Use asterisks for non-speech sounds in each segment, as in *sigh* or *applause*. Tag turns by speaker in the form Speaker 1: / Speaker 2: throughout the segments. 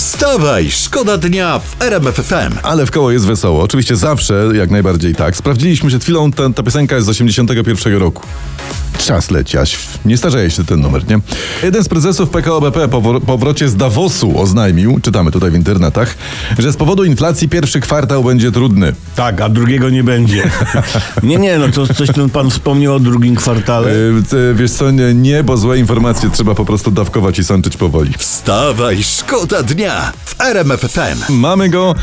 Speaker 1: Wstawaj, szkoda dnia w RMF FM.
Speaker 2: Ale w koło jest wesoło. Oczywiście zawsze, jak najbardziej tak. Sprawdziliśmy przed chwilą, ta, ta piosenka jest z 81 roku. Czas leci, aś nie starzeje się ten numer, nie? Jeden z prezesów PKO BP po wor- powrocie z Davosu oznajmił, czytamy tutaj w internetach, że z powodu inflacji pierwszy kwartał będzie trudny.
Speaker 3: Tak, a drugiego nie będzie. *laughs* nie, nie, no to coś ten pan wspomniał o drugim kwartale.
Speaker 2: Yy, ty, wiesz co, nie, nie, bo złe informacje trzeba po prostu dawkować i sączyć powoli.
Speaker 1: Wstawaj, szkoda dnia w RMF FM.
Speaker 2: Mamy go,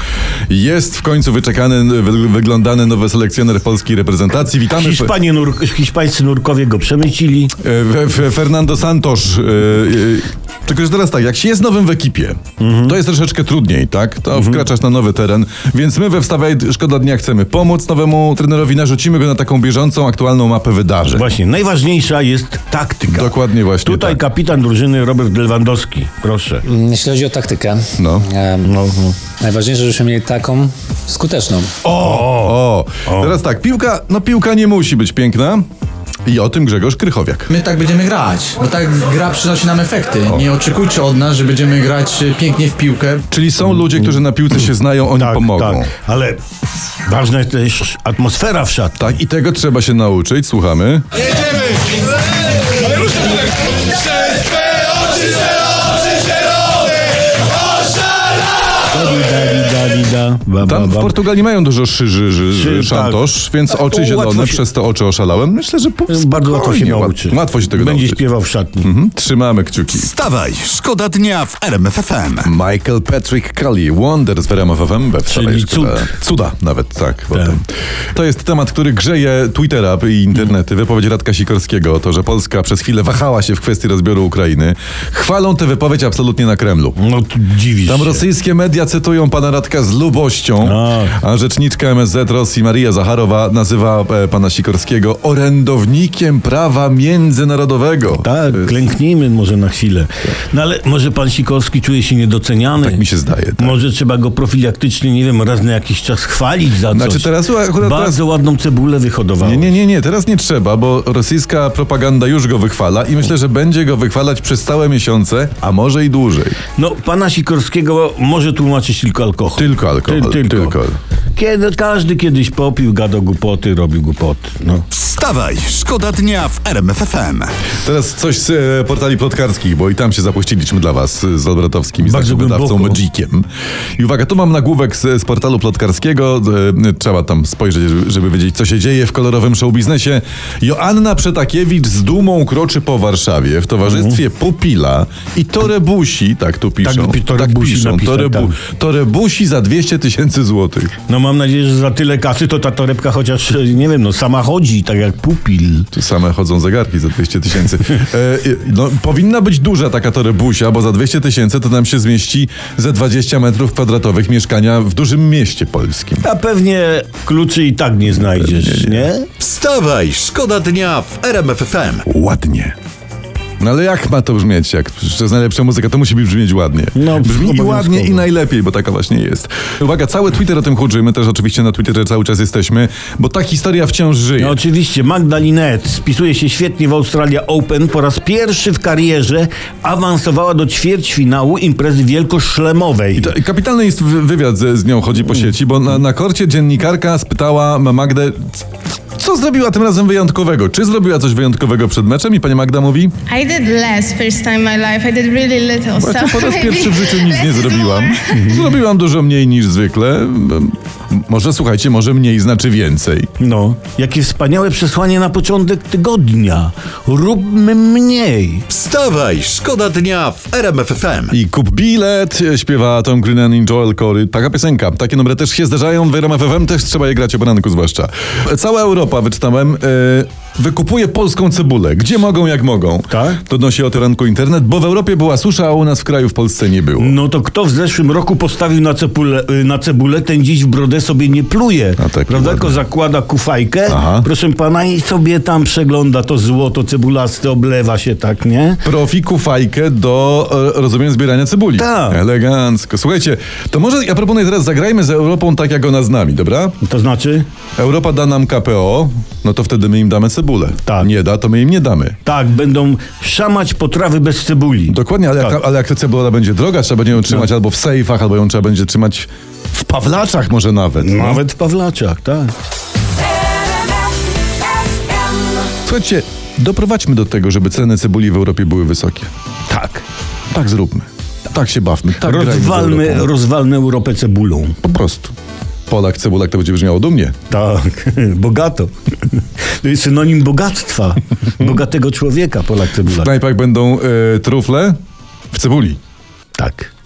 Speaker 2: jest w końcu wyczekany, wy, wyglądany nowy selekcjoner polskiej reprezentacji. Witamy.
Speaker 3: Hiszpanie, nur, hiszpańscy nurkowie go przemycili.
Speaker 2: E, Fe- Fe- Fernando Santos. e, e, Tylko, że teraz tak, jak się jest nowym w ekipie,
Speaker 3: Mhm.
Speaker 2: to jest troszeczkę trudniej, tak? To wkraczasz na nowy teren. Więc my we Wstawaj Szkoda Dnia chcemy pomóc nowemu trenerowi, narzucimy go na taką bieżącą, aktualną mapę wydarzeń.
Speaker 3: Właśnie, najważniejsza jest taktyka.
Speaker 2: Dokładnie właśnie
Speaker 3: Tutaj
Speaker 2: tak.
Speaker 3: kapitan drużyny Robert Lewandowski, proszę.
Speaker 4: Mm, Jeśli chodzi o taktykę,
Speaker 2: No.
Speaker 4: em, najważniejsze, żebyśmy mieli taką skuteczną.
Speaker 2: O, teraz tak, piłka, no piłka nie musi być piękna. I o tym Grzegorz Krychowiak.
Speaker 5: My tak będziemy grać, bo tak gra przynosi nam efekty. Nie oczekujcie od nas, że będziemy grać e, pięknie w piłkę.
Speaker 2: Czyli są ludzie, którzy na piłce się znają, oni pomogą.
Speaker 3: tak. Ale ważna jest też atmosfera w szatni.
Speaker 2: Tak, i tego trzeba się nauczyć, słuchamy. Tam w Portugalii mają dużo szyży, ży, ży,
Speaker 3: Szy- tak.
Speaker 2: szantosz, więc
Speaker 3: To
Speaker 2: oczy zielone,
Speaker 3: łatwo się-
Speaker 2: przez to oczy oszalałem. Myślę, że po-
Speaker 3: Bardzo łatwo się
Speaker 2: spokojnie, łat-
Speaker 3: nauczy.
Speaker 2: Łatwo się tego
Speaker 3: Będzie
Speaker 2: nauczyć.
Speaker 3: śpiewał w szatni.
Speaker 2: Mhm, Trzymamy kciuki.
Speaker 1: Wstawaj, szkoda dnia w RMF FM.
Speaker 2: Michael Patrick Kelly, Wonder z WRMFM we wczoraj.
Speaker 3: Czyli cud.
Speaker 2: Cuda nawet, tak. potem. To jest temat, który grzeje Twittera i internety. Wypowiedź Radka Sikorskiego, to, że Polska przez chwilę wahała się w kwestii rozbioru Ukrainy. Chwalą tę wypowiedź absolutnie na Kremlu.
Speaker 3: No tu dziwisz
Speaker 2: Tam
Speaker 3: się.
Speaker 2: rosyjskie media cytują pana Radka z lubością,
Speaker 3: A.
Speaker 2: a rzeczniczka MSZ Rosji Maria Zacharowa nazywa e, pana Sikorskiego orędownikiem prawa międzynarodowego.
Speaker 3: Tak, klęknijmy może na chwilę. No ale może pan Sikorski czuje się niedoceniany.
Speaker 2: Tak mi się zdaje, tak.
Speaker 3: Może trzeba go profilaktycznie, nie wiem, raz na jakiś czas chwalić za
Speaker 2: Znaczy
Speaker 3: coś.
Speaker 2: teraz akurat
Speaker 3: Bardzo
Speaker 2: teraz-
Speaker 3: ładną cebulę wyhodowało.
Speaker 2: Nie, nie, nie, nie, teraz nie trzeba, bo rosyjska propaganda już go wychwala i myślę, że będzie go wychwalać przez całe miesiące, a może i dłużej.
Speaker 3: No, pana Sikorskiego może tłumaczyć tylko alkohol.
Speaker 2: Tylko alkohol,
Speaker 3: Ty- tylko.
Speaker 2: tylko.
Speaker 3: Kiedy, każdy kiedyś popił, gadał głupoty, robił głupoty. No.
Speaker 1: Wstawaj, szkoda dnia w RMF FM.
Speaker 2: Teraz coś z e, portali plotkarskich, bo i tam się zapuściliśmy dla was e, z Olbratowskim i z
Speaker 3: Bardzo
Speaker 2: naszym wydawcą
Speaker 3: głęboko.
Speaker 2: Magiciem. I uwaga, tu mam nagłówek z, z portalu plotkarskiego. E, trzeba tam spojrzeć, żeby, żeby wiedzieć, co się dzieje w kolorowym showbiznesie. Joanna Przetakiewicz z dumą kroczy po Warszawie w towarzystwie Pupila i Torebusi, tak tu piszą.
Speaker 3: Mhm. Tak, Torebusi napisał,
Speaker 2: Torebu,
Speaker 3: tak.
Speaker 2: torebusi za 200 tysięcy złotych.
Speaker 3: no mam nadzieję, że za tyle kasy to ta torebka chociaż, e, nie wiem, no sama chodzi, tak jak pupil.
Speaker 2: Tu same chodzą zegarki za 200 tysięcy. E, no, powinna być duża taka torebusia, bo za 200 tysięcy to nam się zmieści ze 20 metrów kwadratowych mieszkania w dużym mieście polskim.
Speaker 3: A pewnie kluczy i tak nie znajdziesz, nie?
Speaker 1: Wstawaj, szkoda dnia w RMF FM.
Speaker 2: Ładnie. No ale jak ma to brzmieć? Jak to jest najlepsza muzyka, to musi brzmieć ładnie.
Speaker 3: No,
Speaker 2: Brzmi i
Speaker 3: obowiązkowo.
Speaker 2: ładnie i najlepiej, bo taka właśnie jest. Uwaga, cały Twitter o tym huczy. My też oczywiście na Twitterze cały czas jesteśmy, bo ta historia wciąż żyje.
Speaker 3: No oczywiście, Magdalinet spisuje się świetnie w Australia Open. Po raz pierwszy w karierze awansowała do ćwierćfinału imprezy wielkoszlemowej.
Speaker 2: To Kapitalny jest wy- wywiad z, z nią, chodzi po sieci, bo na, na korcie dziennikarka spytała Magdę, c- co zrobiła tym razem wyjątkowego? Czy zrobiła coś wyjątkowego przed meczem? I pani Magda mówi,
Speaker 6: I did less first time in my life. I did really little.
Speaker 2: właśnie
Speaker 6: so
Speaker 2: po raz
Speaker 6: maybe
Speaker 2: pierwszy w życiu nic
Speaker 6: less
Speaker 2: nie
Speaker 6: is
Speaker 2: zrobiłam.
Speaker 6: more.
Speaker 2: Zrobiłam dużo mniej niż zwykle. M- Może, słuchajcie, może mniej znaczy więcej.
Speaker 3: No, jakie wspaniałe przesłanie na początek tygodnia. Róbmy mniej.
Speaker 1: Wstawaj, szkoda dnia w RMF FM.
Speaker 2: I kup bilet, śpiewa Tom Greenan i Joel Corey. Taka piosenka. Takie numery też się zdarzają, w RMF FM też trzeba je grać o baranku zwłaszcza. Cała Europa, wyczytałem, yy, wykupuje polską cebulę. Gdzie mogą, jak mogą.
Speaker 3: Tak?
Speaker 2: Donosi o tyranku internet, bo w Europie była susza, a u nas w kraju w Polsce nie było.
Speaker 3: No to kto w zeszłym roku postawił na cebulę, y, na cebulę ten dziś w brodę sobie nie pluje.
Speaker 2: A taki
Speaker 3: prawda? Tylko
Speaker 2: ładny.
Speaker 3: zakłada kufajkę,
Speaker 2: Aha.
Speaker 3: proszę pana, i sobie tam przegląda to złoto cebulaste, oblewa się tak, nie?
Speaker 2: Profiku fajkę do, e, rozumiem, zbierania cebuli.
Speaker 3: Tak.
Speaker 2: Elegancko. Słuchajcie, to może ja proponuję teraz zagrajmy z Europą tak, jak ona z nami, dobra?
Speaker 3: To znaczy?
Speaker 2: Europa da nam KPO, no to wtedy my im damy cebulę. cebulę.
Speaker 3: Tak.
Speaker 2: Nie da, to my im nie damy.
Speaker 3: Tak, będą szamać potrawy bez cebuli.
Speaker 2: Dokładnie, ale,
Speaker 3: Tak.
Speaker 2: jak, ta, ale jak ta cebula będzie droga, trzeba będzie ją trzymać albo w sejfach, albo ją trzeba będzie trzymać w pawlaczach może nawet. no.
Speaker 3: Tak. Nawet w Pawlaczach, tak.
Speaker 7: NMFM.
Speaker 2: Słuchajcie, doprowadźmy do tego, żeby ceny cebuli w Europie były wysokie.
Speaker 3: Tak.
Speaker 2: Tak zróbmy. Tak się bawmy. Tak grajmy z
Speaker 3: Rozwalmy,
Speaker 2: Europą.
Speaker 3: rozwalmy Europę cebulą.
Speaker 2: Po prostu. Polak, cebulak to będzie brzmiało dumnie.
Speaker 3: Tak, *laughs* bogato. To jest synonim *laughs* bogactwa. Bogatego człowieka, Polak
Speaker 2: W
Speaker 3: cebula.
Speaker 2: knajpach będą e, trufle w cebuli.
Speaker 3: Tak.